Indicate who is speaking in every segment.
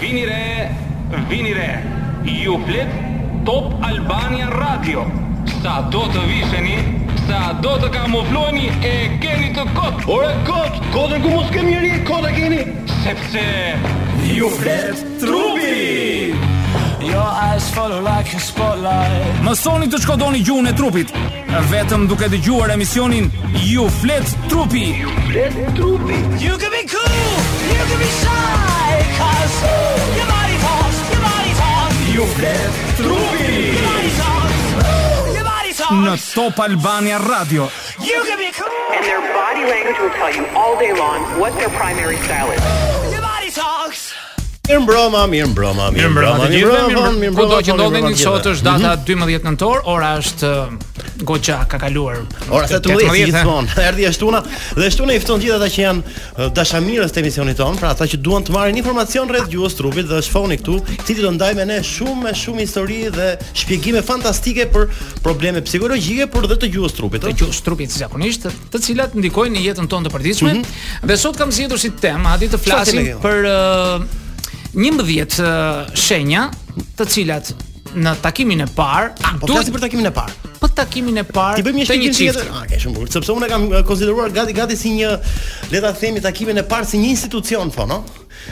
Speaker 1: Vini re, vini re. Ju flet Top Albania Radio. Sa do të visheni, sa do të kamufloheni e keni të kot.
Speaker 2: Ore kot, kotën ku mos kemi njerë, kota keni.
Speaker 1: Sepse
Speaker 2: Ju flet trupi.
Speaker 3: Your eyes follow like a spotlight.
Speaker 4: Mësoni të shkodoni gjuhën e trupit, vetëm duke dëgjuar emisionin Ju flet trupi.
Speaker 2: Flet trupi.
Speaker 3: You can be cool, you can be shy, cause your body talks, your body talks,
Speaker 2: Ju flet trupi.
Speaker 3: your body talks, your body
Speaker 4: Në
Speaker 3: talks.
Speaker 4: Top Albania Radio.
Speaker 3: You can be cool,
Speaker 5: And their body language will tell you all day long what their primary style is.
Speaker 3: your body talks.
Speaker 2: Mirë mbroma, mirë mbroma, mirë mbroma.
Speaker 6: të gjithëve,
Speaker 2: fon,
Speaker 6: mirë kudo që
Speaker 2: fon,
Speaker 6: ndodheni
Speaker 2: mirë
Speaker 6: sot
Speaker 2: mbroma
Speaker 6: është data 12 nëntor, ora është eh, goxha ka kaluar.
Speaker 2: Ora 18 si
Speaker 6: 18,
Speaker 2: gjithmonë. Erdhi e shtuna dhe shtuna i fton gjithë ata që janë eh, dashamirës të emisionit ton, pra ata që duan të marrin informacion rreth gjuhës trupit dhe shfoni këtu, cili do ndaj me ne shumë me shumë histori dhe shpjegime fantastike për probleme psikologjike por dhe të gjuhës trupit.
Speaker 6: të
Speaker 2: ëh.
Speaker 6: gjuhës trupit si zakonisht, të cilat ndikojnë në jetën tonë të përditshme.
Speaker 2: Mhm.
Speaker 6: Dhe sot kam zgjedhur si temë, hadi të flasim
Speaker 2: teme ke?
Speaker 6: për uh, 11 uh, shenja të cilat në takimin e parë,
Speaker 2: Po flasim për takimin e parë.
Speaker 6: për takimin e parë
Speaker 2: Ti bëjmë
Speaker 6: të
Speaker 2: një
Speaker 6: një
Speaker 2: shpjegim si
Speaker 6: çifti.
Speaker 2: tjetër. Okej, shumë bukur. Sepse unë e kam eh, konsideruar gati gati si një le ta themi takimin e parë si një institucion po, no?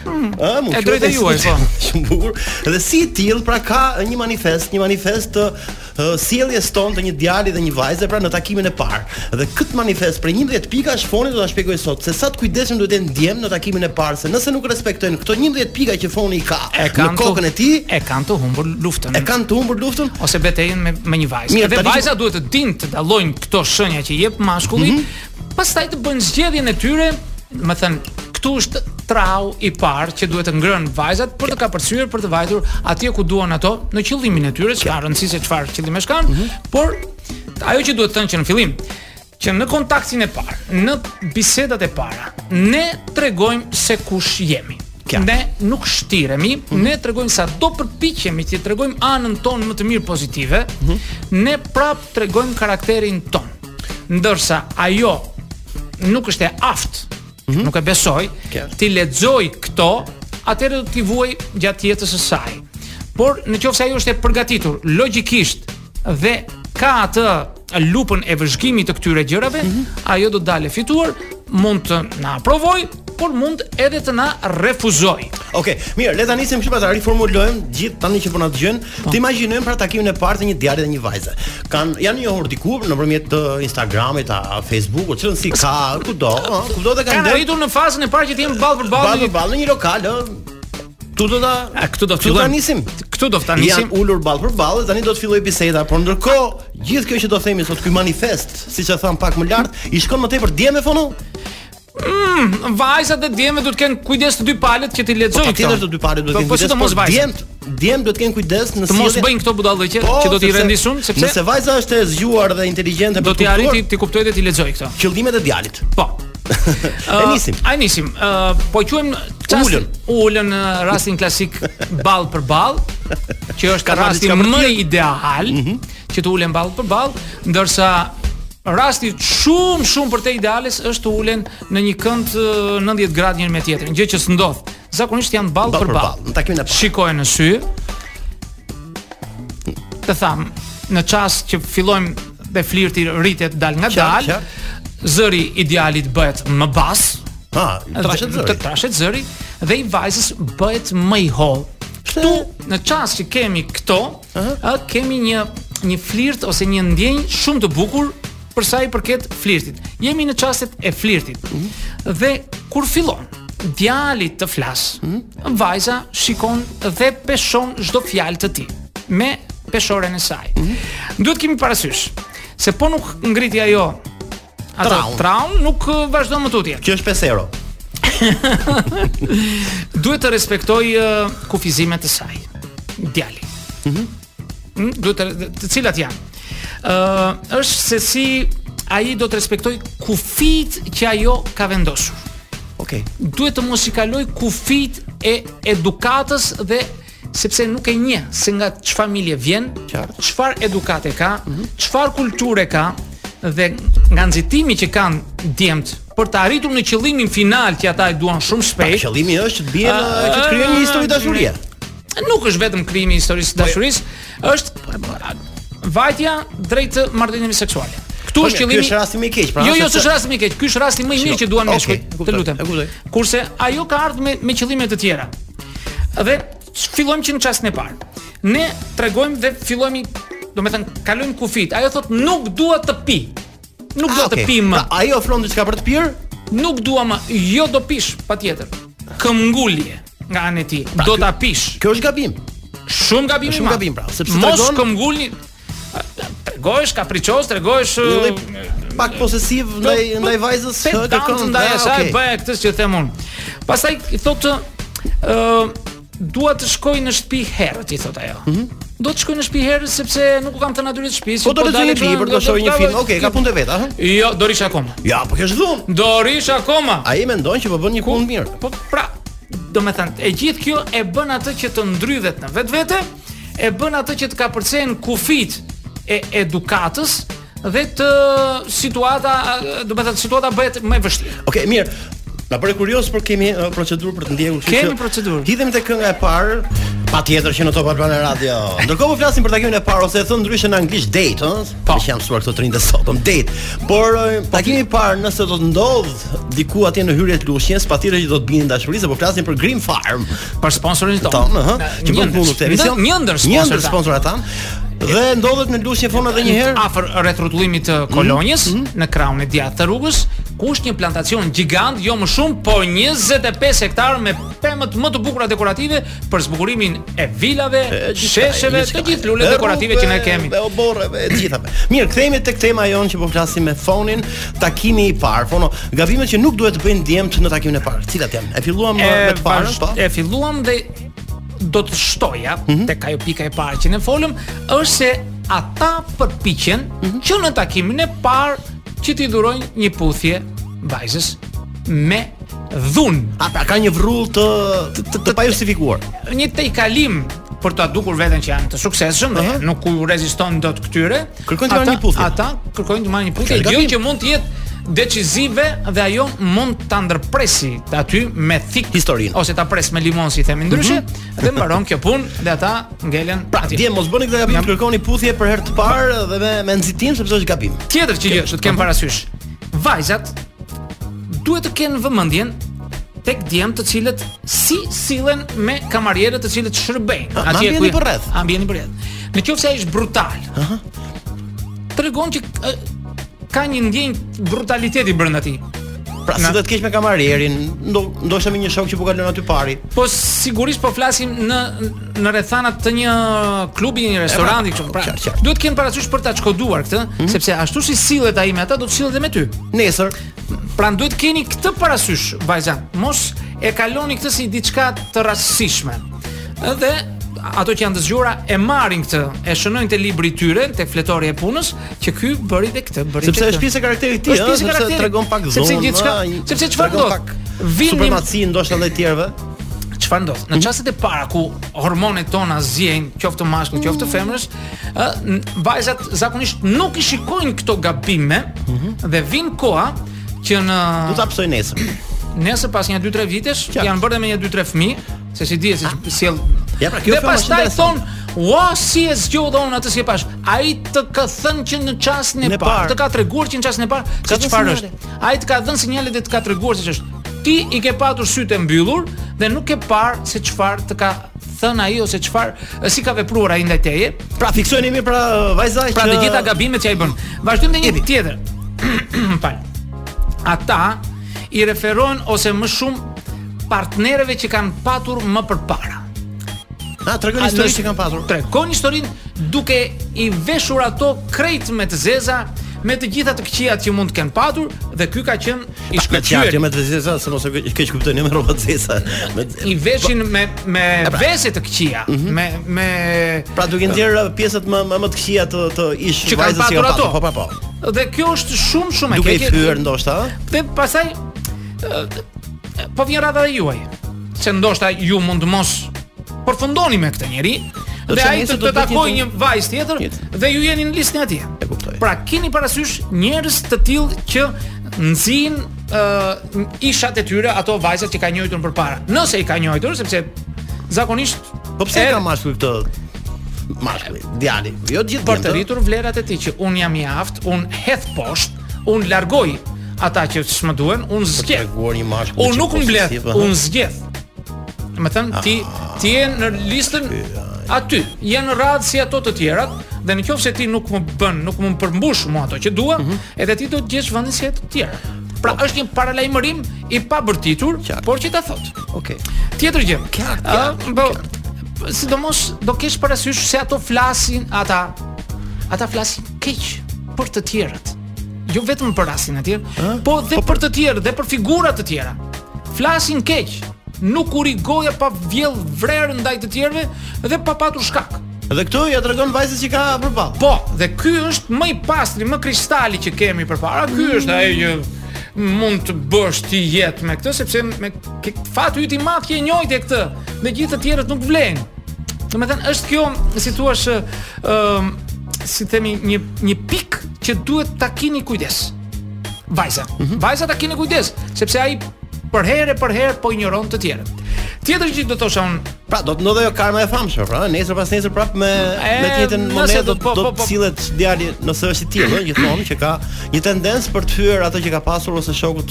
Speaker 2: Ë, mund
Speaker 6: Hmm, e
Speaker 2: quhet
Speaker 6: drejta juaj, po.
Speaker 2: institucion. Shumë bukur. Dhe si i till, pra ka një manifest, një manifest të eh, sjelljes tonë të një djali dhe një vajze pra në takimin e parë. Dhe kët manifest për 11 pika shfoni do ta shpjegoj sot se sa të kujdesshëm duhet të jenë ndjem në takimin e parë, se nëse nuk respektojnë këto 11 pika që foni i ka në
Speaker 6: kanë të-
Speaker 2: kokën e tij,
Speaker 6: e kanë të humbur luftën.
Speaker 2: e kanë të humbur luftën
Speaker 6: ose betejën me me një vajzë. Mirë,
Speaker 2: Mirë,
Speaker 6: dhe
Speaker 2: tani që-
Speaker 6: vajza duhet të dinë të dallojnë këto shenja që jep mashkulli,
Speaker 2: Mhm.
Speaker 6: pastaj të bëjnë zgjedhjen e tyre, më thënë, këtu është trau i parë që duhet të ngrënë vajzat për të kapërcyer, për të vajtur atje ku duan ato në qëllimin e tyre, s'ka rëndësi se çfarë qëllimesh kanë,
Speaker 2: Mhm.
Speaker 6: por ajo që duhet të thënë që në fillim që në kontaktin e parë, në bisedat e para, ne tregojmë se kush jemi.
Speaker 2: Qartë.
Speaker 6: Ne nuk shtiremi, ne tregojmë sa do përpiqemi që tregojmë anën tonë më të mirë pozitive, ne prap tregojmë karakterin ton. Ndërsa ajo nuk është e aftë, nuk e besoj,
Speaker 2: Qartë.
Speaker 6: ti lexoj këto, atëherë do t'i vuaj gjatë jetës së saj. Por në qoftë se ajo është e përgatitur logjikisht dhe ka atë lupën e vëzhgimit të këtyre gjërave, ajo do të dalë e fituar, mund të na aprovoj, por mund edhe të na refuzoj.
Speaker 2: Okej, mirë, le ta nisim kështu pra ta riformulojmë gjithë tani që po na dëgjojnë. Të imagjinojmë pra takimin e parë të një djali dhe një vajze. Kan janë njohur diku nëpërmjet të Instagramit, a Facebookut, çon si ka, kudo, ëh, kudo dhe kanë
Speaker 6: Kanë
Speaker 2: ndër
Speaker 6: arritur në fazën e parë që të jemi ballë për ballë.
Speaker 2: ballë për ballë në një lokal, ëh. Tu do ta
Speaker 6: A, këtu do të
Speaker 2: ta
Speaker 6: fillojmë.
Speaker 2: nisim.
Speaker 6: Këtu do ta nisim.
Speaker 2: Janë ulur ballë për ballë, tani do të filloj biseda, por ndërkohë gjithë kjo që do themi sot ky manifest, siç e tham pak më lart, i shkon më tepër dje me fonu.
Speaker 6: Vajzat dhe djemët duhet të kenë kujdes të dy palët që ti lexojnë.
Speaker 2: Po, Patjetër të dy palët duhet të kenë
Speaker 6: Po
Speaker 2: kujdes,
Speaker 6: sidomos
Speaker 2: por
Speaker 6: vajzat.
Speaker 2: djemt, djemt duhet të kenë kujdes në
Speaker 6: Të mos
Speaker 2: sjelljen-
Speaker 6: bëjnë këto budallëqe që do t'i
Speaker 2: Po, sepse-
Speaker 6: rendisun sepse
Speaker 2: nëse vajza është e zgjuar dhe inteligjente
Speaker 6: do
Speaker 2: për
Speaker 6: t'i
Speaker 2: të kuptuar
Speaker 6: arriti ti kuptoj dhe ti lexoj këto.
Speaker 2: qëllimet e djalit.
Speaker 6: Po.
Speaker 2: E nisim.
Speaker 6: Uh, ai nisim. Uh, po quajm
Speaker 2: Ulën.
Speaker 6: ulën. Ulën në rastin klasik ball për ball, që është
Speaker 2: Ka marrë
Speaker 6: rasti
Speaker 2: diçka për Mhm.
Speaker 6: më
Speaker 2: tjerë?
Speaker 6: ideal, që të ulen ball për ball, ndërsa rasti shumë shumë për te ideales është të ulen në një kënd uh, 90 gradë njëri me tjetrin, gjë që s'ndodh. Zakonisht janë ball
Speaker 2: Ball
Speaker 6: për
Speaker 2: për
Speaker 6: ball.
Speaker 2: ball, në takimin e parë.
Speaker 6: Shikojnë në sy. Të tham, në çast që fillojmë dhe flirti rritet dal nga
Speaker 2: Qartë,
Speaker 6: dal, zëri i djalit bëhet më bas,
Speaker 2: Ha, trashë
Speaker 6: dhe-
Speaker 2: zëri.
Speaker 6: të trashet zëri dhe i vajzës bëhet më i holl. Ktu në çast që kemi këto, ë, kemi një një flirt ose një ndjenjë shumë të bukur për sa i përket flirtit. Jemi në çastet e flirtit.
Speaker 2: Mhm.
Speaker 6: Dhe kur fillon djali të flas,
Speaker 2: Mhm.
Speaker 6: vajza shikon dhe peshon çdo fjalë të tij me peshoren e saj.
Speaker 2: Mhm.
Speaker 6: Duhet kemi parasysh se po nuk ngriti ajo
Speaker 2: Traun.
Speaker 6: atë traun, nuk ë, vazhdon më tutje
Speaker 2: Kjo është 5 euro.
Speaker 6: duhet të respektoj uh, kufizimet e saj. Djali. Mhm. duhet të, të cilat janë. Ë është se si ai do të respektoj kufit që ajo ka vendosur.
Speaker 2: Okej.
Speaker 6: Duhet të mos i kaloj kufit e edukatës dhe sepse nuk e njeh se nga çfarë familje vjen,
Speaker 2: Qartë.
Speaker 6: çfarë edukate ka, çfarë kulture ka dhe nga nxitimi që kanë djemt për të arritur në qëllimin final që ata e duan shumë
Speaker 2: Pa,
Speaker 6: shpejt.
Speaker 2: Qëllimi është të bie në
Speaker 6: Ah,
Speaker 2: që të krijojë një histori dashurie.
Speaker 6: Nuk është vetëm krimi i historisë së dashurisë,
Speaker 2: Po,
Speaker 6: është vajtja drejt të marrëdhënieve seksuale. Këtu
Speaker 2: Po mirë,
Speaker 6: është
Speaker 2: ky
Speaker 6: qëllimi.
Speaker 2: është rasti më i keq, pra,
Speaker 6: Jo, jo,
Speaker 2: sepse-
Speaker 6: s'është rasti më i keq. Ky është rasti më i mirë
Speaker 2: Shiko,
Speaker 6: që duam ne
Speaker 2: okay,
Speaker 6: shkoj.
Speaker 2: e kuptoj,
Speaker 6: Të lutem.
Speaker 2: e kuptoj.
Speaker 6: Kurse ajo ka ardhur me me qëllime të tjera. Dhe fillojmë që në çastin e parë. Ne tregojmë dhe fillojmë, domethënë, kalojmë kufit. Ajo thotë nuk dua të pi. Nuk dua
Speaker 2: okay.
Speaker 6: të pi më.
Speaker 2: Pra, ai ofron diçka për të pirë?
Speaker 6: Nuk dua më, jo do pish, patjetër. Këmbgulje nga anë e tij. do ta pish.
Speaker 2: Pra, Kjo është gabim.
Speaker 6: Shumë gabim i
Speaker 2: Shumë
Speaker 6: madh.
Speaker 2: gabim, pra, sepse
Speaker 6: mos
Speaker 2: tregon-
Speaker 6: këmbgulni tregohesh kapriçoz, tregohesh
Speaker 2: Një lloj pak posesiv ndaj ndaj vajzës
Speaker 6: po, se
Speaker 2: hë,
Speaker 6: kërkon ndaj
Speaker 2: ah,
Speaker 6: asaj
Speaker 2: okay.
Speaker 6: bëja këtë që them unë. Pastaj i thotë ë dua të shkoj në shtëpi herët, i thot ajo. Do të shkoj në shtëpi herët sepse nuk u kam të natyrit shtëpisë.
Speaker 2: Mhm.
Speaker 6: pra,
Speaker 2: Po do të lexoj një libër, do shoh një film. Okej, ka punë të vet, aha.
Speaker 6: Jo, do rish akoma.
Speaker 2: Ja, po kjo është dhunë.
Speaker 6: Do rish akoma.
Speaker 2: Ai mendon që po bën një punë mirë.
Speaker 6: Po pra, do me thënë, e gjithë kjo e bën atë që të ndrydhet në vetë vete, e bën atë që të ka përcen kufit e edukatës, dhe të situata, do me thënë, situata bëhet më e vështirë.
Speaker 2: Okej, mirë. Na bëre kurioz, por kemi uh, procedurë për të ndjekur, kështu
Speaker 6: Kemi procedurë.
Speaker 2: Hidhemi te kënga e parë, patjetër që në Top Albana Radio. Ndërkohë po flasim për takimin e parë ose e thon ndryshe në anglisht date, ëh? Po. Që jam mësuar këto të rinj të sotëm date. Por uh,
Speaker 6: Po,
Speaker 2: takimi i parë nëse do të ndodh diku atje në hyrje të Lushnjës, patjetër që do të bini dashuri, se po flasim për Green Farm.
Speaker 6: Për sponsorin tonë.
Speaker 2: Ton, ëh, që
Speaker 6: Një
Speaker 2: bën
Speaker 6: ndër-
Speaker 2: punë këtë emision.
Speaker 6: Një ndër
Speaker 2: Një ndër
Speaker 6: sponsorat.
Speaker 2: sponsorat tan. Dhe ndodhet në Lushnjë fon edhe një herë. Mhm,
Speaker 6: afër rrethrotullimit të kolonjës në krahun e djathtë të rrugës, ku është një plantacion gjigant, jo më shumë, po 25 hektar me pemët më të bukura dekorative për zbukurimin e vilave,
Speaker 2: gjithçka,
Speaker 6: shesheve,
Speaker 2: gjithçka.
Speaker 6: të gjithë lulet
Speaker 2: E
Speaker 6: dekorative që ne
Speaker 2: rrugëve,
Speaker 6: kemi.
Speaker 2: Dhe oborreve, e gjithave. Mirë, kthehemi tek tema jonë që po flasim me fonin, takimi i parë. Fono, gabimet që nuk duhet të bëjnë djemt në takimin e parë. Cilat janë? E filluam e, me të parën,
Speaker 6: vazh-
Speaker 2: po?
Speaker 6: E filluam dhe do të shtoja
Speaker 2: Mhm.
Speaker 6: tek ajo pika e parë që ne folëm, është se ata përpiqen
Speaker 2: Mhm.
Speaker 6: që në takimin e parë që t'i dhurojnë një puthje vajzës me dhunë.
Speaker 2: A pra ka një vrull të të, të, të pa justifikuar.
Speaker 6: një tejkalim për ta dukur veten që janë të suksesshëm dhe
Speaker 2: Aha.
Speaker 6: nuk u rezistojnë dot këtyre.
Speaker 2: Kërkojnë të marrin
Speaker 6: ata-
Speaker 2: një puthje.
Speaker 6: Ata kërkojnë të marrin një puthje,
Speaker 2: Është
Speaker 6: gjë
Speaker 2: gabim.
Speaker 6: që mund të jetë decizive dhe ajo mund ta ndërpresi të aty me thik
Speaker 2: Historinë. Mhm.
Speaker 6: ose ta pres me limon si themi ndryshe dhe mbaron kjo punë dhe ata ngelen
Speaker 2: Pra,
Speaker 6: atje.
Speaker 2: dje mos bëni këtë gabim, kërkoni puthje për herë të parë dhe me me nxitim sepse është gabim.
Speaker 6: Tjetër që gjë që të kem parasysh. Vajzat duhet të kenë vëmendjen tek djem të cilët si sillen me kamarierët të cilët shërbejnë.
Speaker 2: me ambientin përreth.
Speaker 6: Ambientin përreth. Në qoftë se ai është brutal. Ëh. Tregon që ë, ka një ndjenjë brutaliteti brenda tij.
Speaker 2: Pra, si
Speaker 6: Na.
Speaker 2: do të kesh me kamarierin, ndo, ndoshta me një shok që po kalon aty pari.
Speaker 6: Po sigurisht po flasim në në rrethana të një klubi, një restoranti kështu. Pra,
Speaker 2: qartë, qartë. Mhm.
Speaker 6: duhet të kenë parasysh për ta shkoduar këtë, sepse ashtu si sillet ai me ata, do të sillet edhe me ty.
Speaker 2: Nesër,
Speaker 6: Pra duhet keni këtë parasysh, vajza. Mos e kaloni këtë si diçka të rastësishme. Dhe ato që janë të zgjura e marrin këtë, e shënojnë te libri i tyre, te fletori e punës, që ky bëri dhe këtë, bëri
Speaker 2: sepse
Speaker 6: dhe
Speaker 2: është
Speaker 6: këtë.
Speaker 2: pjesë e karakterit të tij,
Speaker 6: Është
Speaker 2: ëh,
Speaker 6: pjesë e
Speaker 2: sepse
Speaker 6: karakterit.
Speaker 2: tregon pak zonë.
Speaker 6: Sepse gjithçka-
Speaker 2: ëh,
Speaker 6: sepse çfarë
Speaker 2: tregon
Speaker 6: ndodh?
Speaker 2: pak
Speaker 6: Vin një-
Speaker 2: Supremaci Mhm. ndoshta ndaj tjerëve.
Speaker 6: çfarë ndodh? Në çastet e para ku hormonet tona zjejnë, qoftë të mashkull,
Speaker 2: Mhm.
Speaker 6: qoftë të femrës, ë n- vajzat zakonisht nuk i shikojnë këto gabime dhe vin koha që në
Speaker 2: Mhm. Do ta psoj nesër.
Speaker 6: Nëse pas një 2-3 vitesh
Speaker 2: Qartë.
Speaker 6: janë bërë dhe me një 2-3 fëmijë, se si dihet si sjell.
Speaker 2: Ja, pra, kjo
Speaker 6: Dhe
Speaker 2: fema është
Speaker 6: pastaj thon,
Speaker 2: interesante.
Speaker 6: "Ua, si e zgjodha unë atë si e pash." Ai të ka thënë që në çastin e parë,
Speaker 2: Në parë.
Speaker 6: të ka treguar që në çastin e parë se
Speaker 2: dhënë
Speaker 6: çfarë është.
Speaker 2: sinjale.
Speaker 6: Ai të ka dhënë sinjale dhe të ka treguar se ç'është. Ti i ke patur sytë e mbyllur dhe nuk e parë se çfarë të ka thënë ai ose çfarë si ka vepruar ai ndaj teje.
Speaker 2: Pra fiksojeni mirë pra vajzaj
Speaker 6: Pra
Speaker 2: që
Speaker 6: të gjitha gabimet që ai bën. Vazhdojmë me një
Speaker 2: Jepi.
Speaker 6: tjetër. Pal. Ata i referohen ose më shumë partnerëve që kanë patur më përpara.
Speaker 2: Na tregoni histori që kanë patur.
Speaker 6: Tregon historinë duke i veshur ato krejt me të zeza, me të gjitha të këqijat që mund të kenë patur dhe ky ka qenë i
Speaker 2: Me qartë
Speaker 6: shkëlqyer.
Speaker 2: jo me të zesa, se mos e keq kuptoni me rrobat zesa. Me
Speaker 6: I veshin me me vese të këqija, me me
Speaker 2: Mhm. pra duke ndjer pjesët më më më të këqija të të ish
Speaker 6: Që kanë
Speaker 2: vajzës që
Speaker 6: patur
Speaker 2: kanë
Speaker 6: ato.
Speaker 2: patur. Po po po.
Speaker 6: dhe kjo është shumë shumë e
Speaker 2: Duke i
Speaker 6: keqe.
Speaker 2: thyer ndoshta, ëh?
Speaker 6: Dhe pasaj ë, po vjen rradha e juaj, se ndoshta ju mund të mos përfundoni me këtë njeri
Speaker 2: Do
Speaker 6: dhe
Speaker 2: të
Speaker 6: ai
Speaker 2: nisë
Speaker 6: të,
Speaker 2: do
Speaker 6: të
Speaker 2: të bëhet
Speaker 6: takoj një
Speaker 2: një-
Speaker 6: vajzë tjetër
Speaker 2: Tjetër.
Speaker 6: dhe ju jeni në listën atje.
Speaker 2: E kuptoj.
Speaker 6: Pra keni parasysh njerëz të tillë që nxjin ë ishat e tyre ato vajzat që ka njohur përpara. Nëse i ka njohur, sepse zakonisht
Speaker 2: Po pse
Speaker 6: e-
Speaker 2: ka mashkull këtë mashkull, djali. Jo të gjithë
Speaker 6: për të
Speaker 2: ë?
Speaker 6: rritur vlerat e tij që un jam i aft, un hedh poshtë, un largoj ata që s'më duhen, un
Speaker 2: Po Të
Speaker 6: zgjedh.
Speaker 2: treguar një mashkull.
Speaker 6: Un
Speaker 2: që
Speaker 6: nuk
Speaker 2: po Ah.
Speaker 6: mbledh,
Speaker 2: sensitiv, aha.
Speaker 6: un zgjedh. Do të thënë ti ti je në listën aty, je në radhë si ato të tjerat dhe në qoftë se ti nuk më bën, nuk më përmbush mua ato që dua,
Speaker 2: Mhm.
Speaker 6: edhe ti do të gjesh vendin si ato të tjera. Pra është një paralajmërim i pabërtitur,
Speaker 2: Po. Qartë.
Speaker 6: por që ta thot.
Speaker 2: Okej.
Speaker 6: Tjetër gjë. Ë,
Speaker 2: Qartë, qartë,
Speaker 6: po, sidomos do kesh parasysh se ato flasin ata. Ata flasin keq për të tjerët. Jo vetëm për rastin e tij, po dhe për të tjerë dhe për figura të tjera. Flasin keq, nuk u rigoja pa vjell vrerë ndaj të tjerëve dhe pa patur shkak.
Speaker 2: Dhe këtu ja tregon vajzës që ka përpall.
Speaker 6: Po, dhe ky është më i pastri, më kristali që kemi përpara. Ky është ai që mund të bësh ti jetë me këtë sepse me ke- fat yt i madh që e njohit e këtë. Dhe gjithë të tjerët nuk vlen. Do me thënë, është kjo, si thua, është, ëm, si themi, një, një pik që duhet ta kini kujdes. Vajza. Vajza ta kini kujdes, sepse ai për herë e për herë po injoron të tjerët. Tjetër që do të thosha unë,
Speaker 2: Pra do të ndodhë ajo karma e famshme, pra, nesër pas nesër prap me
Speaker 6: E,
Speaker 2: me të njëjtën
Speaker 6: nëse
Speaker 2: monet do
Speaker 6: do- po,
Speaker 2: do
Speaker 6: po,
Speaker 2: të
Speaker 6: po.
Speaker 2: sillet djali nëse është i tillë, ëh, gjithmonë që ka një tendencë për të hyer ato që ka pasur ose shokut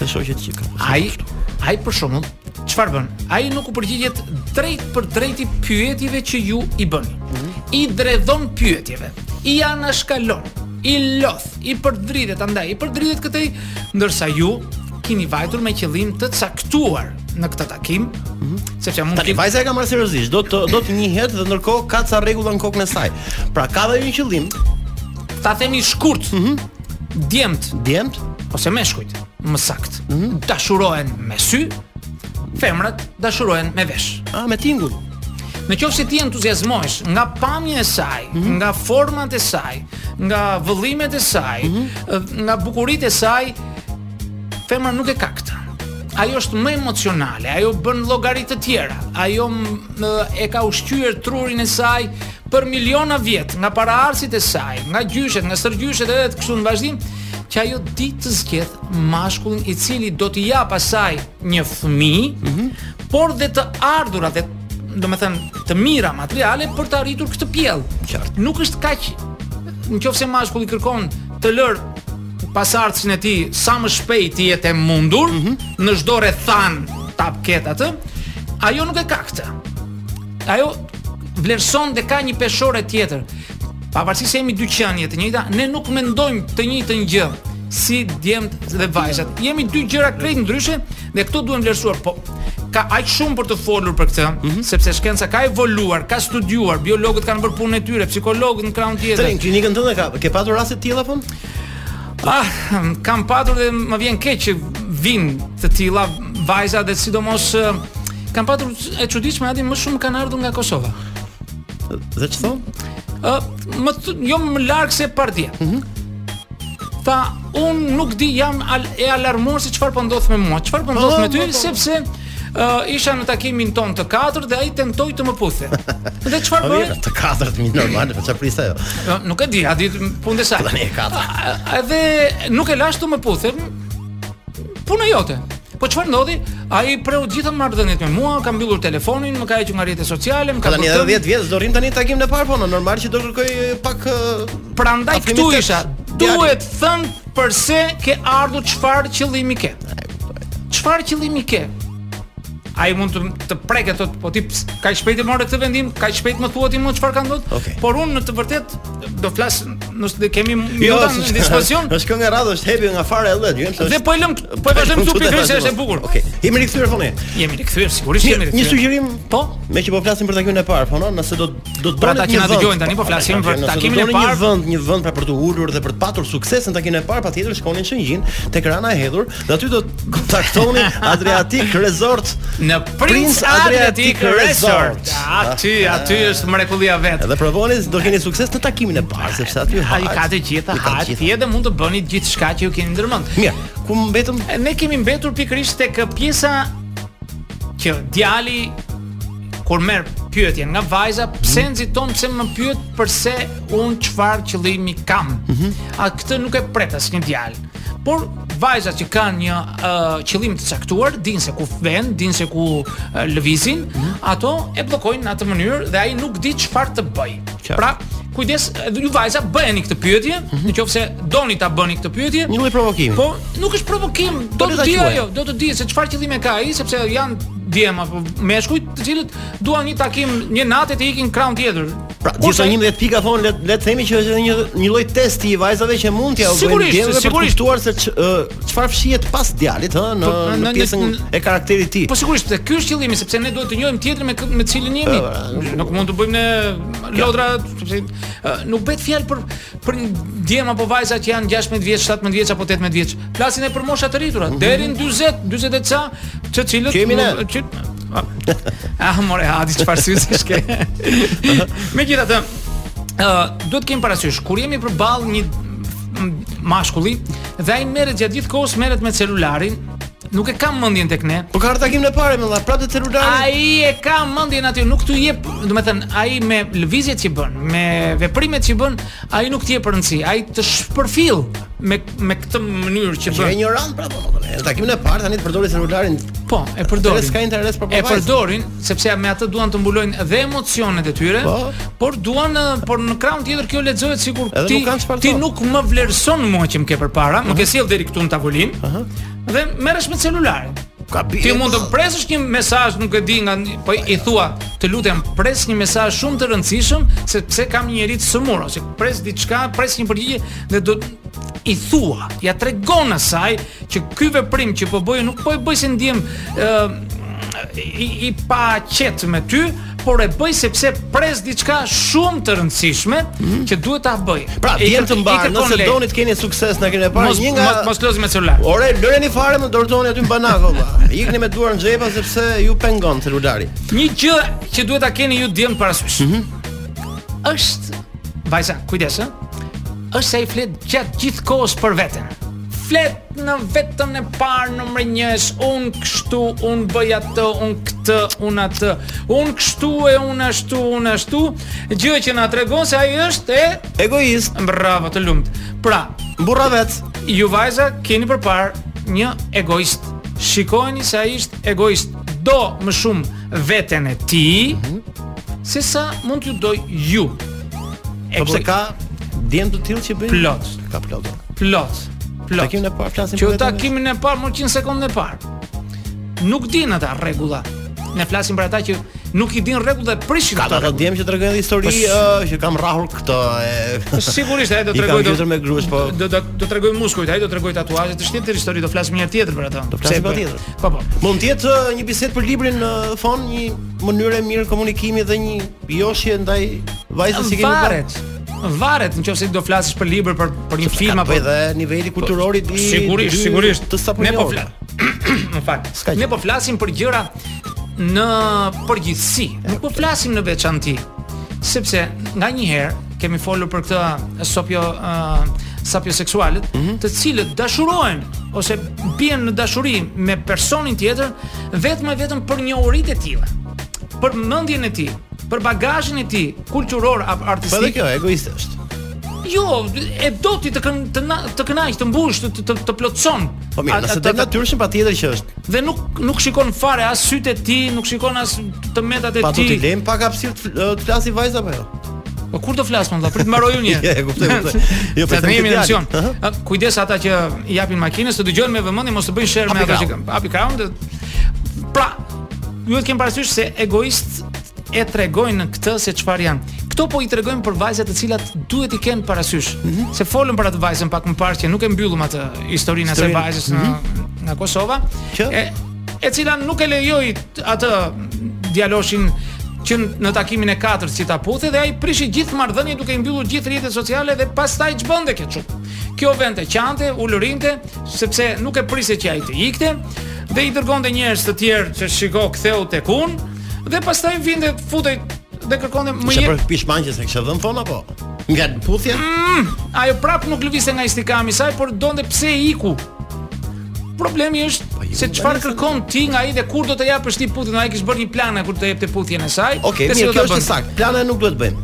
Speaker 2: të shoqet që ka pasur.
Speaker 6: Ai, ai për shembull, çfarë bën? Ai nuk u përgjigjet drejt për drejti pyetjeve që ju i bëni. I dredhon pyetjeve, i anashkalon, i lodh, i përdritet andaj, i përdritet këtej, ndërsa ju keni vajtur me qëllim të caktuar në këtë takim, sepse mund
Speaker 2: Tani
Speaker 6: të
Speaker 2: vajza e ka marrë seriozisht, do të do të njihet dhe ndërkohë ka ca rregulla në kokën e saj. Pra ka dhe një qëllim,
Speaker 6: ta themi shkurt. Djemt
Speaker 2: djemt,
Speaker 6: ose meshkujt, më sakt, dashurohen me sy, femrat dashurohen me vesh.
Speaker 2: a me tingull.
Speaker 6: Në qoftë se ti entuziazmohesh nga pamja e saj, nga format e saj, nga vëllimet e saj, ë, nga bukuritë e saj, femra nuk e ka këtë. Ajo është më emocionale, ajo bën llogaritë të tjera. Ajo m- ë, e ka ushqyer trurin e saj për miliona vjet, nga paraardhësit e saj, nga gjyshet, nga sërgjyshet edhe të kështu në vazhdim, që ajo di të zgjedh mashkullin i cili do t'i jap asaj një fëmijë, por dhe të ardhurat dhe do me thënë të mira materiale për të arritur këtë pjell.
Speaker 2: Qartë.
Speaker 6: Nuk është kaq në qoftë se mashkulli kërkon të lërë pasardhësin e ti sa më shpejt ti jetë e mundur, në çdo rrethan ta ket atë, ajo nuk e ka këtë. Ajo vlerëson dhe ka një peshore tjetër. Pavarësisht se jemi dy qenie të njëjta, ne nuk mendojmë të njëjtën gjë si djemt dhe vajzat. Jemi dy gjëra krejt ndryshe dhe këto duhen vlerësuar. Po ka aq shumë për të folur për këtë, sepse shkenca ka evoluar, ka studiuar, biologët kanë bërë punën e tyre, psikologët në krahun tjetër.
Speaker 2: Tani në klinikën tënde ka ke pasur raste të tilla po?
Speaker 6: Ah, kam patur dhe më vjen keq që vin të tilla vajza dhe sidomos eh, kam patur e çuditshme aty më shumë kanë ardhur nga Kosova.
Speaker 2: Dhe ç'thon?
Speaker 6: Ë, më t- jo më larg se partia.
Speaker 2: Mhm.
Speaker 6: Tha, un nuk di jam al e alarmuar se çfarë po ndodh me mua, çfarë po ndodh me ty, sepse ë, isha në takimin ton të katërt dhe ai tentoi të më puthe. Dhe çfarë
Speaker 2: Po
Speaker 6: bëri?
Speaker 2: mirë, të katërt mi normal, po çfarë priste ajo?
Speaker 6: Ë, Nuk e di, a di punë e saj.
Speaker 2: Tani e katërt.
Speaker 6: A- Edhe nuk e lash të më puthe. Puna jote. Po çfarë ndodhi? Ai preu gjithë marrëdhëniet me mua, ka mbyllur telefonin, më ka hequr nga rrjetet sociale, më ka
Speaker 2: Po Tani edhe 10 vjet do rrim tani takimin e parë po, në normal që do kërkoj e, pak e,
Speaker 6: Prandaj këtu
Speaker 2: Afrimitet,
Speaker 6: isha.
Speaker 2: djali.
Speaker 6: Duhet thën pse ke ardhur çfarë qëllimi ke. Çfarë qëllimi ke? Ai mund të të preket thotë, po ti ps- kaq shpejt e morë këtë vendim, kaq shpejt më thuat ti më çfarë ka ndodhur?
Speaker 2: Okej. Jo,
Speaker 6: Por unë në të vërtetë do flas, nëse ne kemi minuta në
Speaker 2: s'është-
Speaker 6: dispozicion,
Speaker 2: Është kënga e radhës, është hepi nga fare e llet, ju
Speaker 6: Dhe po e lëm, po e vazhdojmë këtu pikërisht se është e bukur.
Speaker 2: Okej. Jemi rikthyer fonë.
Speaker 6: Jemi rikthyer sigurisht
Speaker 2: Mirë,
Speaker 6: jemi
Speaker 2: një
Speaker 6: rikthyer.
Speaker 2: sugjerim
Speaker 6: Po.
Speaker 2: Me që po flasim për takimin e parë, po no, nëse do do të
Speaker 6: Pra,
Speaker 2: donet
Speaker 6: ata që
Speaker 2: një
Speaker 6: na
Speaker 2: vend-
Speaker 6: dëgjojnë tani, po flasim
Speaker 2: nëse
Speaker 6: për
Speaker 2: do
Speaker 6: takimin e
Speaker 2: donin Një
Speaker 6: parë.
Speaker 2: vend, një vend pra për të ulur dhe për të patur sukses në takimin e parë, patjetër shkonin në Shëngjin, tek Rana e Hedhur, dhe aty do të kontaktoni Adriatic Resort
Speaker 6: Në Prince Adriatic Resort. Aty, aty është mrekullia vet.
Speaker 2: Edhe provoni do keni sukses në takimin e parë, sepse aty
Speaker 6: Ai ka të gjitha,
Speaker 2: i ka të
Speaker 6: hajt
Speaker 2: gjitha.
Speaker 6: tjetër mund të bëni gjithçka që ju keni ndërmend.
Speaker 2: Mirë, ku mbetëm?
Speaker 6: Ne kemi mbetur pikërisht tek pjesa që djali kur merr pyetjen nga vajza,
Speaker 2: Mhm.
Speaker 6: pse nxiton, pse më pyet përse
Speaker 2: Mhm.
Speaker 6: un çfarë qëllimi kam. A këtë nuk e pret asnjë djalë. Por vajzat që kanë një uh, qëllim të caktuar, dinë se ku vën, dinë se ku uh, lëvizin,
Speaker 2: Mhm.
Speaker 6: ato e bllokojnë në atë mënyrë dhe ai nuk di çfarë të bëj.
Speaker 2: Qartë. Mhm.
Speaker 6: Pra, kujdes, edhe ju vajza bëheni këtë pyetje, nëse doni ta bëni këtë pyetje.
Speaker 2: Një lloj provokimi.
Speaker 6: Po, nuk është provokim, do
Speaker 2: le
Speaker 6: të
Speaker 2: Po, ta
Speaker 6: di
Speaker 2: quaj.
Speaker 6: ajo, do të di se çfarë qëllime ka ai, sepse janë djem apo meshkujt, të cilët duan një takim një natë e të ikin krahun tjetër.
Speaker 2: Pra,
Speaker 6: Kurse-
Speaker 2: gjithsa 11 pika thon le le të themi që është edhe një një lloj testi i vajzave që mund t'ja u bëjnë
Speaker 6: Sigurisht,
Speaker 2: djemve për të
Speaker 6: sigurisht.
Speaker 2: kuptuar se ç- ë, çfarë fshihet pas djalit, ë, në,
Speaker 6: Po, në-
Speaker 2: në
Speaker 6: në-
Speaker 2: pjesën
Speaker 6: në-
Speaker 2: e karakterit të tij.
Speaker 6: Po sigurisht, dhe ky është qëllimi sepse ne duhet të njohim tjetrin me kë- me cilin jemi. Nuk mund të bëjmë ne lodra, sepse ë, nuk bëhet fjalë për për një djem apo vajza që janë 16 vjeç, 17 vjeç apo 18 vjeç. Flasin e për mosha të rritura, deri në 40, 40 e ca, të cilët
Speaker 2: Mhm. Kemi ne.
Speaker 6: nuk- që- Ah, more, hadi çfarë syze ke. Megjithatë, ë duhet kemi parasysh kur jemi përballë një m- mashkulli dhe ai merret gjatë gjithë kohës merret me celularin, nuk e kam mendjen tek ne.
Speaker 2: Po ka hartakim në parë me valla, prapë te celulari.
Speaker 6: Ai e ka mendjen aty, nuk t'u jep, do të thënë, ai me lëvizjet që bën, me veprimet që bën, ai nuk t'jep rëndësi, ai të shpërfill me me këtë mënyrë që
Speaker 2: Që e
Speaker 6: bën.
Speaker 2: ignorant prapë. po, në Takimin e parë tani të përdori celularin.
Speaker 6: Po, e
Speaker 2: Dhe
Speaker 6: përdorin.
Speaker 2: s'ka interes për
Speaker 6: E
Speaker 2: për vajzën.
Speaker 6: përdorin sepse me atë duan të mbulojnë dhe emocionet e tyre,
Speaker 2: Po.
Speaker 6: por duan ë, por në krahun tjetër kjo lexohet sikur
Speaker 2: Edhe
Speaker 6: ti
Speaker 2: nuk kanë çfarë
Speaker 6: ti
Speaker 2: thonë.
Speaker 6: nuk më vlerëson mua që më ke përpara, më ke sjell deri këtu në tavolinë. Dhe merresh me celularin.
Speaker 2: Ka bie.
Speaker 6: Ti mund të presësh një mesazh, nuk e di nga, një- po i thua, të lutem pres një mesazh shumë të rëndësishëm sepse kam një njerëz të sëmur ose pres diçka, pres një përgjigje dhe do i thua, ja tregon asaj që ky veprim që po bëj nuk po e bëj se ndjem ë i, i pa qetë me ty, por e bëj sepse pres diçka shumë të rëndësishme që duhet ta bëj.
Speaker 2: Mhm. Pra,
Speaker 6: E i
Speaker 2: djem
Speaker 6: kër-
Speaker 2: të
Speaker 6: i
Speaker 2: mbar,
Speaker 6: kërkon
Speaker 2: nëse
Speaker 6: lejë.
Speaker 2: doni të keni sukses në keni e parë,
Speaker 6: mos,
Speaker 2: një nga
Speaker 6: mos, mos lëzim me celular.
Speaker 2: Ore, lëreni fare më dorëzoni aty në banak valla. Ikni me duar në xhepa sepse ju pengon celulari.
Speaker 6: Një gjë që duhet ta keni ju djem parasysh. Mhm. Është vajza, kujdes ë. Është se ai flet gjatë gjithë kohës për veten. Flet në vetën e parë numër 1, un kështu, un bëj atë, un këtë, un atë, un kështu e un ashtu, un ashtu, gjë që na tregon se ai është e
Speaker 2: Egoist,
Speaker 6: bravo të lumt. Pra,
Speaker 2: burra vet.
Speaker 6: ju vajza keni përpar një egoist. Shikojeni se ai është egoist. Do më shumë veten e ti, se sa mund t'ju doj ju. E
Speaker 2: Po
Speaker 6: pse
Speaker 2: pse ka djem të tillë që bëjnë
Speaker 6: Plot.
Speaker 2: Ka plot.
Speaker 6: plot, plot.
Speaker 2: Takimin e parë flasim
Speaker 6: Që
Speaker 2: për vetën e-
Speaker 6: takimin e parë, më 100 sekondën e parë. Nuk din ata rregulla. Ne flasim për ata që nuk i din rregullat dhe prishin
Speaker 2: Ka
Speaker 6: ato
Speaker 2: ata
Speaker 6: rregulla.
Speaker 2: djem që tregojnë edhe histori
Speaker 6: Po s-
Speaker 2: ë, që kam rrahur këtë e
Speaker 6: Sigurisht ai do
Speaker 2: I kam
Speaker 6: tregoj do
Speaker 2: gjithër me grush, po.
Speaker 6: do do, do tregoj muskujt, ai do tregoj tatuazhet, është tjetër histori, do flasim një herë tjetër për ato. Do
Speaker 2: flasim patjetër.
Speaker 6: Po po.
Speaker 2: Mund të jetë ë, një bisedë për librin në fon, një mënyrë e mirë komunikimi dhe një joshje ndaj vajzës që kemi
Speaker 6: Varet. Varet, nëse do flasësh për libër, për për një film apo
Speaker 2: edhe niveli kulturor i di.
Speaker 6: po- sigurisht,
Speaker 2: dy
Speaker 6: sigurisht.
Speaker 2: Të
Speaker 6: Ne po
Speaker 2: sapunjor.
Speaker 6: flas. Më fal.
Speaker 2: S'ka gjë.
Speaker 6: Ne po flasim për gjëra në përgjithësi. Nuk po flasim në veçanti. Sepse nga një herë kemi folur për këtë sopio uh, sapio seksualet,
Speaker 2: Mhm.
Speaker 6: të cilët dashurohen ose bien në dashuri me personin tjetër vetëm e vetëm për njohuritë e tilla, për mendjen e tij, për bagazhin e tij kulturor apo
Speaker 2: Po
Speaker 6: artistik.
Speaker 2: edhe kjo egoiste është.
Speaker 6: Jo, e do ti të kën, të, na, të kënaq, të mbush, të të, të plotson.
Speaker 2: Po mirë,
Speaker 6: A-
Speaker 2: nëse
Speaker 6: atë-
Speaker 2: del natyrshëm patjetër që është.
Speaker 6: dhe nuk nuk shikon fare as sytë e ti, nuk shikon as të metat e
Speaker 2: Pa do
Speaker 6: ti.
Speaker 2: t'i lejmë pak hapësirë të fl- ë, të flasi vajza apo jo?
Speaker 6: Po kur do flas më valla? Prit mbaroj unë.
Speaker 2: Ja, e kuptoj, kuptoj. Jo, po
Speaker 6: po
Speaker 2: them
Speaker 6: tani jemi
Speaker 2: këtë
Speaker 6: në
Speaker 2: fjalë.
Speaker 6: emision.
Speaker 2: Aha.
Speaker 6: A, Kujdes ata që i japin makinës të dëgjojnë me vëmendje mos të bëjnë share me
Speaker 2: Happy
Speaker 6: ato që
Speaker 2: ground.
Speaker 6: hapi kraun. Dhe... Pra, ju e kemi parasysh se egoist e tregojnë në këtë se çfarë janë. Këto po i tregojmë për vajzat të cilat duhet i kenë parasysh.
Speaker 2: Mhm.
Speaker 6: Se folëm për atë vajzën pak më parë që nuk e mbyllëm atë historinë e asaj
Speaker 2: Historinë. Mhm.
Speaker 6: vajzës në nga Kosova,
Speaker 2: Që?
Speaker 6: e e cila nuk e lejoi t- atë djaloshin që n- në takimin e katërt si ta puthi dhe ai prishi gjithë marrëdhënien duke i mbyllur gjithë rrjetet sociale dhe pastaj ç'bënte kjo çu. Kjo vente qante, ulërinte sepse nuk e priste që ai të ikte dhe i dërgonte njerëz të tjerë që shiko ktheu tek unë dhe pastaj vinte futej dhe kërkonte më
Speaker 2: Ishe
Speaker 6: jep
Speaker 2: për pishmanqe se kisha dhënë fon apo? Nga puthja?
Speaker 6: Mm, ajo prap nuk lëviste nga istikami i saj, por donte pse i iku. Problemi është
Speaker 2: Po, ju
Speaker 6: se
Speaker 2: më
Speaker 6: çfarë
Speaker 2: bëni
Speaker 6: kërkon ti nga ai dhe kur do të japësh ti putin, ai kish bërë një plan kur të jepte puthjen e saj.
Speaker 2: Okej,
Speaker 6: dhe si
Speaker 2: mirë,
Speaker 6: do ta
Speaker 2: kjo është
Speaker 6: bënte.
Speaker 2: sakt. Plane nuk duhet bëjmë.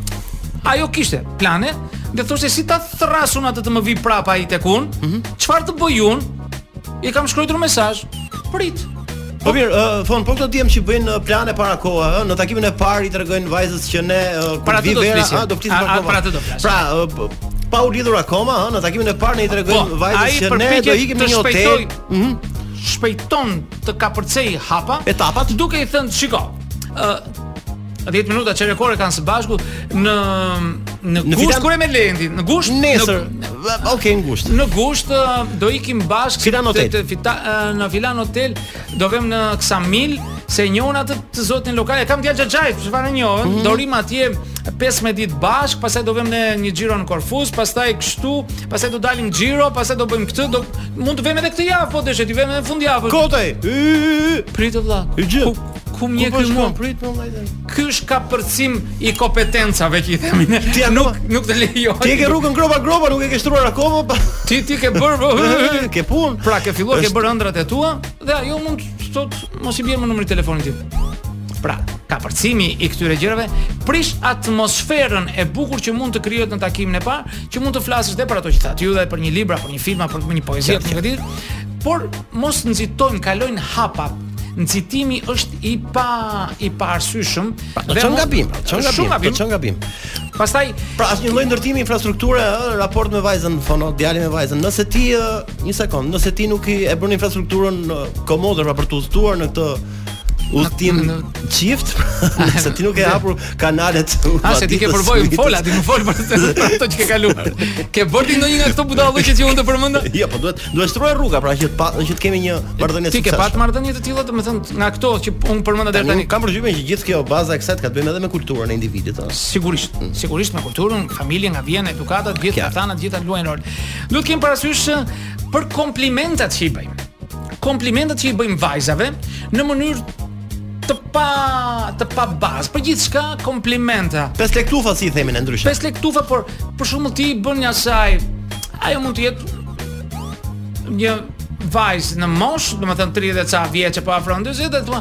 Speaker 6: Ajo kishte
Speaker 2: Mhm.
Speaker 6: plane dhe thoshte si ta thrasun atë të më vi prapa ai tek unë, çfarë të bëj unë? i kam shkruar mesazh. Prit.
Speaker 2: Po mirë, ë, thon, po këto diem që bëjnë ë, plane para kohë, ë, në takimin e parë i tregojnë vajzës që ne ë, kur
Speaker 6: Para të
Speaker 2: vi
Speaker 6: do të
Speaker 2: vera,
Speaker 6: flisim.
Speaker 2: a, do flisim
Speaker 6: A-
Speaker 2: për
Speaker 6: a,
Speaker 2: kohë.
Speaker 6: para të do flasim.
Speaker 2: Pra, ë, p- pa u lidhur akoma, ë, në takimin e parë ne i tregojnë
Speaker 6: Po, ai
Speaker 2: vajzës që ne do
Speaker 6: përpiqet
Speaker 2: ikim
Speaker 6: të
Speaker 2: në një hotel. mhm.
Speaker 6: shpejtoj- Shpejton të kapërcej hapa.
Speaker 2: Etapat?
Speaker 6: Duke i thënë, shiko, ë 10 minuta që rekore kanë së bashku në në,
Speaker 2: Në
Speaker 6: gusht
Speaker 2: filan-
Speaker 6: kur e me Lendin, në gusht në-
Speaker 2: Nesër. Okej, okay, ngushtë.
Speaker 6: Në gusht ë, do ikim bashkë
Speaker 2: Filan Hotel.
Speaker 6: Të, të fita, ë, në Filan Hotel do vem në Ksamil se njëon atë të zotin lokal e kam djalë Xhaxhajt, çfarë njohën,
Speaker 2: Mhm.
Speaker 6: do rim atje 15 ditë bashk, pastaj do vem në një xhiro në Korfuz, pastaj kështu, pastaj do dalim xhiro, pastaj do bëjmë këtë, do mund të vem edhe këtë javë, po dëshë ti vem edhe në fundjavë.
Speaker 2: Kotej. Y,
Speaker 6: Pritë vëlla.
Speaker 2: Y, gjë.
Speaker 6: Ku ku
Speaker 2: y, y.
Speaker 6: mje
Speaker 2: Po
Speaker 6: ky mua?
Speaker 2: shkon prit po vllajtë.
Speaker 6: Ky është kapërcim i kompetencave që i themi ne.
Speaker 2: Ti ja
Speaker 6: nuk nuk të lejoj.
Speaker 2: Ti e ke rrugën groba groba, nuk e ke shtruar akoma. pa-
Speaker 6: ti ti ke bërë po.
Speaker 2: Ke punë.
Speaker 6: Pra ke filluar ke
Speaker 2: Është-
Speaker 6: bërë ëndrat e tua dhe ajo mund të thotë mos i bjerë më numrin e telefonit tim. Pra, kapërcimi i këtyre gjërave prish atmosferën e bukur që mund të krijohet në takimin e parë, që mund të flasësh dhe për ato që thatë ju dhe për një libra, për një filma, për një poezi, për një ditë, por mos nxitojmë, kalojnë hapa. Nxitimi është i pa i pa arsyeshëm.
Speaker 2: Pra, do të çon gabim, pra, çon gabim,
Speaker 6: Shumë
Speaker 2: do
Speaker 6: gabim.
Speaker 2: çon gabim.
Speaker 6: Pastaj
Speaker 2: Pra asnjë lloj ndërtimi infrastrukture, ë, raport me vajzën, fono, djalin me vajzën. Nëse ti ë, një sekond, nëse ti nuk i e bën infrastrukturën ë, komode pra për të udhëtuar në këtë udhtim
Speaker 6: Në-
Speaker 2: çift, nëse ti nuk e hapur kanalet.
Speaker 6: A se ti ke
Speaker 2: udhëtitës,
Speaker 6: përvojë më
Speaker 2: mitës.
Speaker 6: fola, ti më fol për të- për ato që ke kaluar. Ke bërë ti ndonjë nga këto budallëqe që unë të përmenda?
Speaker 2: Jo, po duhet duhet shtruar rruga pra që të pa, që të kemi një marrëdhënie
Speaker 6: Ti ke pat marrëdhënie të tilla, domethënë nga këto që unë përmenda deri tani.
Speaker 2: Unë kam përgjithësimin që gjithë kjo baza e kësaj të ka të bëjë edhe me kulturën e individit. ë.
Speaker 6: Sigurisht, sigurisht me kulturën, familjen, nga vjen, edukata, gjithë
Speaker 2: Mm. Kja.
Speaker 6: këta të gjitha luajnë rol. Duhet të kemi parasysh eh, për komplimentat që i bëjmë. Komplimentat që i bëjmë vajzave në mënyrë të pa të pa bazë. Për gjithçka komplimenta.
Speaker 2: Pes lek tufa si i themin e ndryshe.
Speaker 6: Pes lek tufa, por për shembull ti i bën një asaj, ajo mund të jetë një vajzë në moshë, domethënë 30 ca vjeçë po afron 40 dhe thua,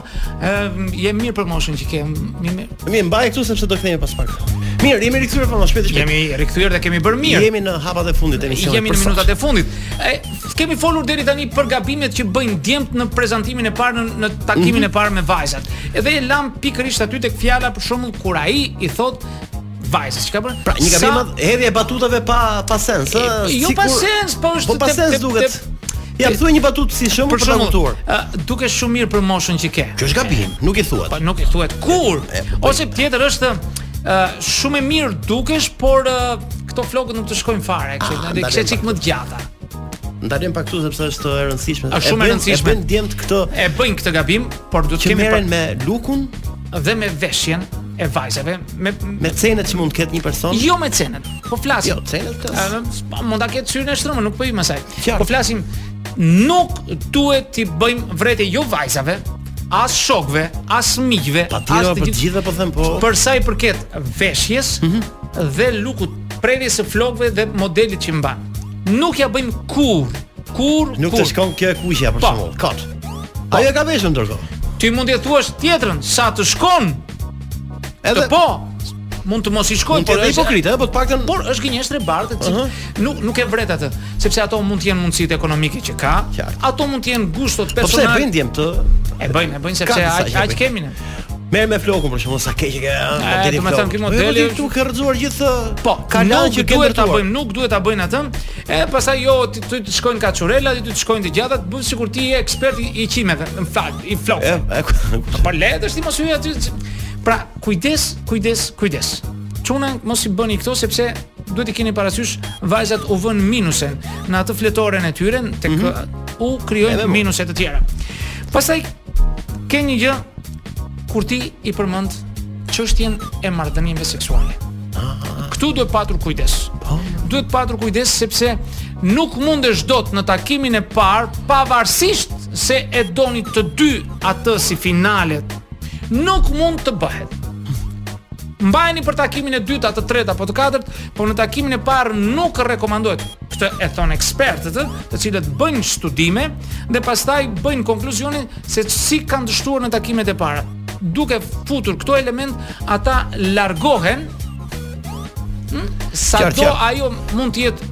Speaker 6: "Ëm, je mirë për moshën që ke, mi mirë."
Speaker 2: Mi mbaj këtu sepse do kthehemi pas pak. Mirë, jemi rikthyer pa më shpejt e shpejt.
Speaker 6: Jemi rikthyer dhe kemi bërë mirë.
Speaker 2: Jemi në hapat e fundit të emisionit.
Speaker 6: Jemi në
Speaker 2: për sot.
Speaker 6: minutat e fundit. E, kemi folur deri tani për gabimet që bëjnë djemt në prezantimin e parë në, në takimin e parë me vajzat. Edhe e lam pikërisht aty tek fjala për shembull kur ai i thot vajzës, çka bën?
Speaker 2: Pra, një
Speaker 6: Sa-
Speaker 2: gabim madh, hedhje e batutave pa pa sens, ë.
Speaker 6: E, jo pa sens, po është
Speaker 2: Po pa
Speaker 6: te-
Speaker 2: sens
Speaker 6: te-
Speaker 2: duket.
Speaker 6: te- po
Speaker 2: Ja thuaj një batutë si shembull
Speaker 6: Për
Speaker 2: për ta
Speaker 6: shembull,
Speaker 2: kuptuar.
Speaker 6: ë, duke shumë mirë për moshën që ke.
Speaker 2: Kjo është gabim, nuk i thuat.
Speaker 6: Po nuk i thuhet kur.
Speaker 2: po-
Speaker 6: Ose tjetër është ë, shumë e mirë dukesh, por ë, këto flokët nuk të shkojnë fare, kështu
Speaker 2: Ah,
Speaker 6: që
Speaker 2: ndalen
Speaker 6: kishe çik
Speaker 2: pak.
Speaker 6: më të gjata.
Speaker 2: Ndalem pak këtu sepse është e rëndësishme.
Speaker 6: Është shumë e
Speaker 2: bën-
Speaker 6: rëndësishme.
Speaker 2: E bën djemt këtë
Speaker 6: E bëjnë këtë gabim, por duhet
Speaker 2: që
Speaker 6: kemi par-
Speaker 2: merren me lukun,
Speaker 6: dhe me veshjen e vajzave, me,
Speaker 2: me cenet që mund të ketë një person.
Speaker 6: jo me cenet. Po flasim.
Speaker 2: Jo, cenet të-
Speaker 6: Ë, s'pa- mund ta ketë syrin e shtrëmë, nuk po i mësaj.
Speaker 2: Qartë.
Speaker 6: Po flasim nuk duhet t'i bëjmë vrete jo vajzave, as shokve, as miqve,
Speaker 2: Pa
Speaker 6: as
Speaker 2: tira për të gjithëve po them po. Mhm.
Speaker 6: Për sa i përket veshjes dhe lukut, prerjes së flokëve dhe modelit që mban. Nuk ja bëjmë kur, kur,
Speaker 2: Nuk
Speaker 6: kur.
Speaker 2: të shkon kjo e kuqja për
Speaker 6: Po.
Speaker 2: shembull. Kot. Ajo e ka veshën ndërkohë.
Speaker 6: Ti mund t'i thuash tjetrën sa të shkon, të
Speaker 2: Edhe
Speaker 6: po. Mund të mos i shkojë,
Speaker 2: Mund të jetë
Speaker 6: është-
Speaker 2: hipokritë, ë, po të paktën
Speaker 6: por është gënjeshtër e bardhë të cilë nuk nuk e vret atë, sepse ato mund të jenë mundësitë ekonomike që ka,
Speaker 2: Qartë.
Speaker 6: ato mund të jenë gushtot
Speaker 2: Po pse e
Speaker 6: personale.
Speaker 2: bëjnë djem të
Speaker 6: e bëjnë, e bëjnë
Speaker 2: Ka
Speaker 6: sepse
Speaker 2: disa
Speaker 6: aq
Speaker 2: që e
Speaker 6: aq
Speaker 2: bëjnë.
Speaker 6: kemi ne.
Speaker 2: Merr me flokun për shembull sa keq që ke ah, ë, modeli
Speaker 6: Eh, do me
Speaker 2: flokut.
Speaker 6: thënë, ky modeli
Speaker 2: Po, ti
Speaker 6: është-
Speaker 2: këtu ke rrëzuar gjithë
Speaker 6: Po, ka
Speaker 2: lan
Speaker 6: që duhet ta
Speaker 2: ndërtuar.
Speaker 6: bëjmë, nuk duhet ta bëjnë atë. E pastaj jo ti ty të shkojnë kaçurela, ti të shkojnë të gjata, të bën sikur ti je ekspert i- i qimeve, në fakt, i flok.
Speaker 2: E, e, Eh, ku-
Speaker 6: Po le të shti mos hyj aty. që- Pra, kujdes, kujdes, kujdes. Çuna mos i bëni këto sepse duhet i keni parasysh vajzat u vën minusen në atë fletoren e tyre tek u krijojnë minuse të tjera. Pastaj ke një gjë kur ti i përmend çështjen e marrëdhënieve seksuale. Këtu duhet patur kujdes. Duhet patur kujdes sepse nuk mundesh dot në takimin e parë pavarësisht se e doni të dy atë si finale. Nuk mund të bëhet. Mbajeni për takimin e dytë, atë të tretë apo të katërt, por në takimin e parë nuk rekomandohet. Këtë e thon ekspertët, ë, të cilët bëjnë studime dhe pastaj bëjnë konkluzionin se si kanë dështuar në takimet e para. Duke futur këto element, ata largohen hm? Sa
Speaker 2: Qartë,
Speaker 6: do
Speaker 2: qartë.
Speaker 6: ajo mund të jetë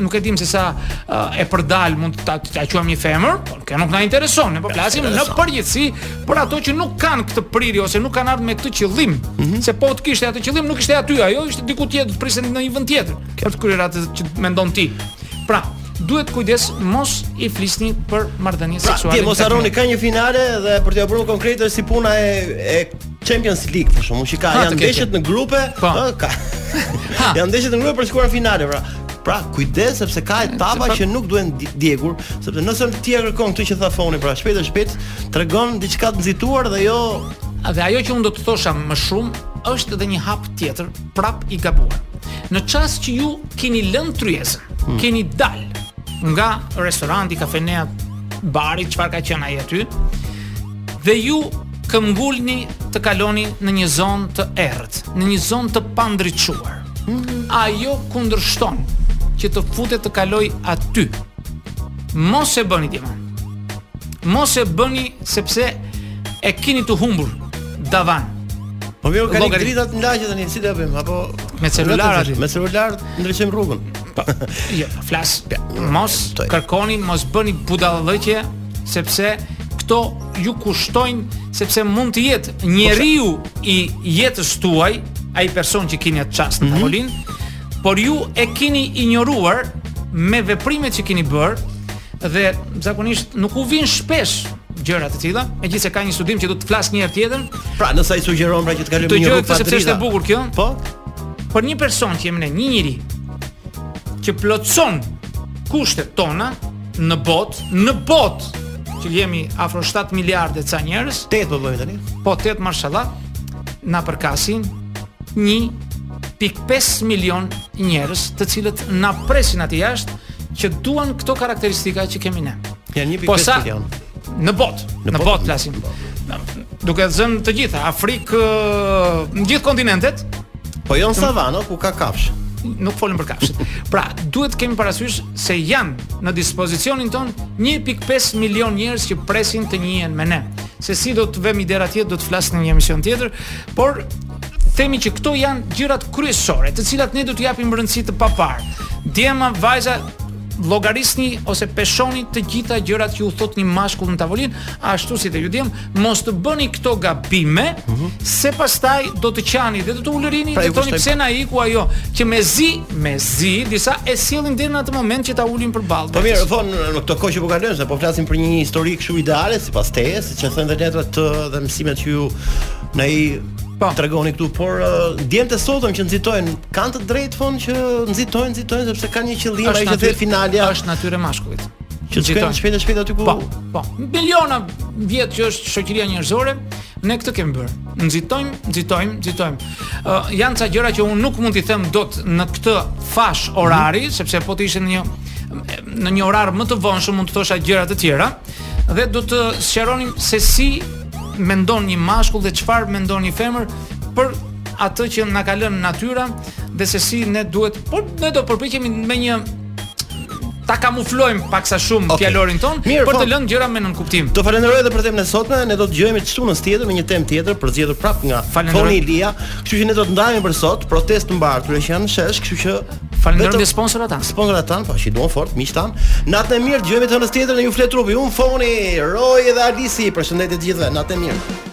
Speaker 6: nuk e dim se sa ë, e përdal mund ta ta quajmë një femër, por kjo nuk na intereson, ne po flasim në përgjithësi për ato që nuk kanë këtë prirje ose nuk kanë ardhur me këtë qëllim.
Speaker 2: Mhm.
Speaker 6: Se po të kishte atë qëllim, nuk ishte aty, ajo ishte diku tjetër, të prisen në një vend tjetër. Kjo të kryer atë që mendon ti. Pra, duhet kujdes mos i flisni për marrëdhënie
Speaker 2: Pra,
Speaker 6: seksuale.
Speaker 2: ti mos
Speaker 6: në
Speaker 2: harroni
Speaker 6: internet.
Speaker 2: ka një finale dhe për t'ja bërë konkrete është si puna e e Champions League për shkakun që ka
Speaker 6: Ha,
Speaker 2: janë
Speaker 6: të keqe.
Speaker 2: ndeshjet në grupe,
Speaker 6: Po.
Speaker 2: ë, ka. janë ndeshjet në grupe për të shkuar në finale, pra. Pra, kujdes sepse ka etapa
Speaker 6: se pa-
Speaker 2: që nuk duhen di- djegur, sepse nëse ti e kërkon këtë që tha Foni, pra shpejt e shpejt tregon diçka të nxituar dhe jo
Speaker 6: Dhe ajo që unë do të thosha më shumë është edhe një hap tjetër prap i gabuar. Në çast që ju keni lënë tryezën, keni dal nga restoranti, kafeneja, bari, çfarë ka qenë ai aty, dhe ju këmbulni të kaloni në një zonë të errët, në një zonë të pandriçuar. Ajo kundërshton që të futet të kaloj aty. Mos e bëni djemon mos e bëni sepse e keni të humbur davan
Speaker 2: Po mirë, kanë
Speaker 6: Llogarit.
Speaker 2: dritat në lagje tani, si do bëjmë apo
Speaker 6: Me celular
Speaker 2: vetëm
Speaker 6: aty.
Speaker 2: Me celular ndriçojmë rrugën.
Speaker 6: jo flas mos
Speaker 2: toj.
Speaker 6: kërkoni mos bëni budallëqe sepse këto ju kushtojnë sepse mund të jetë njeriu i jetës tuaj ai person që keni atë çast
Speaker 2: Mhm.
Speaker 6: në tavolin por ju e keni injoruar me veprimet që keni bërë dhe zakonisht nuk u vin shpesh gjëra të tilla megjithëse ka një studim që do të flas një herë tjetër
Speaker 2: Pra, nëse ai sugjeron pra që të kalojmë
Speaker 6: Të
Speaker 2: një
Speaker 6: gjoj
Speaker 2: rrugë
Speaker 6: këtë
Speaker 2: pa
Speaker 6: sepse është e
Speaker 2: drita.
Speaker 6: bukur kjo.
Speaker 2: Po,
Speaker 6: Për një person që jemi ne, një njeri që plotson kushtet tona në botë, në botë që jemi afro 7 miliardë e ca njerëz,
Speaker 2: tet po bëjmë tani.
Speaker 6: po tet mashallah na përkasin 1.5 milion njerëz të cilët na presin aty jashtë që duan këto karakteristika që kemi ne.
Speaker 2: Janë 1.5
Speaker 6: Po sa-
Speaker 2: milion.
Speaker 6: Në botë, në,
Speaker 2: botë,
Speaker 6: botë flasim. Duke zënë të gjitha, Afrikë, në gjithë kontinentet,
Speaker 2: Po jo në savano ku ka kafsh.
Speaker 6: nuk folën për kafshët. Pra, duhet kemi parasysh se janë në dispozicionin ton 1.5 milion njerëz që presin të njihen me ne. Se si do të vëmë idera tjetër, do të flas në një emision tjetër, por themi që këto janë gjërat kryesore, të cilat ne do t'u japim rëndësi të papar. Djema, vajza, llogarisni ose peshoni të gjitha gjërat që u thot një mashkull në tavolinë, ashtu si të ju djem, mos të bëni këto gabime, se pastaj do të qani dhe do të ulërini
Speaker 2: Mhm. Pra,
Speaker 6: dhe
Speaker 2: ju
Speaker 6: të thoni
Speaker 2: kushtojmë-
Speaker 6: pse na iku ajo, që me zi, me zi, disa e sillin deri në atë moment që ta ulin përballë.
Speaker 2: Po mirë, po në në këto kohë që po kalojmë, se po flasim për një histori kështu ideale sipas teje, siç e thënë dhe letrat të dhe mësimet që ju na i
Speaker 6: Po.
Speaker 2: tregoni këtu, por uh, djemtë e sotëm që nxitojnë, kanë të drejtë fon që nxitojnë, nxitojnë sepse kanë një qëllim, ajo që the finalja,
Speaker 6: është natyrë e mashkullit.
Speaker 2: që të shkojnë
Speaker 6: Nxitojnë.
Speaker 2: shpejt e shpejt aty ku.
Speaker 6: Po, po. Miliona vjet që është shoqëria njerëzore, ne këtë kemi bërë. Nxitojmë, nxitojmë, nxitojmë. Ë janë ca gjëra që unë nuk mund t'i them dot në këtë fash orari, sepse po të ishte në një në një orar më të vonshëm mund të thosha gjëra të tjera dhe do të sqaronim se si mendon një mashkull dhe çfarë mendon një femër për atë që na ka lënë natyra dhe se si ne duhet, por ne do përpiqemi me një ta kamuflojmë paksa shumë
Speaker 2: Okej.
Speaker 6: fjalorin ton
Speaker 2: Mirë,
Speaker 6: për
Speaker 2: po.
Speaker 6: të lënë gjëra me nën kuptim.
Speaker 2: Të Ehm, falenderoj edhe për temën e sotme, ne do të dëgjojmë çtu në tjetër me një temë tjetër përzgjedhur prap nga
Speaker 6: Falenderoj.
Speaker 2: Foni Ilia, kështu që ne do të ndajemi për sot protestë mbartur që janë në shesh, kështu që
Speaker 6: Falenderoj
Speaker 2: vetëm-
Speaker 6: dhe sponsorat tanë.
Speaker 2: sponsorat tan, po që i duan fort, miq tan. Natën e mirë, dëgjojmë të hënës tjetër në ju flet trupi. Un Foni, Roy dhe Alisi, përshëndetje të gjithëve, natën e mirë.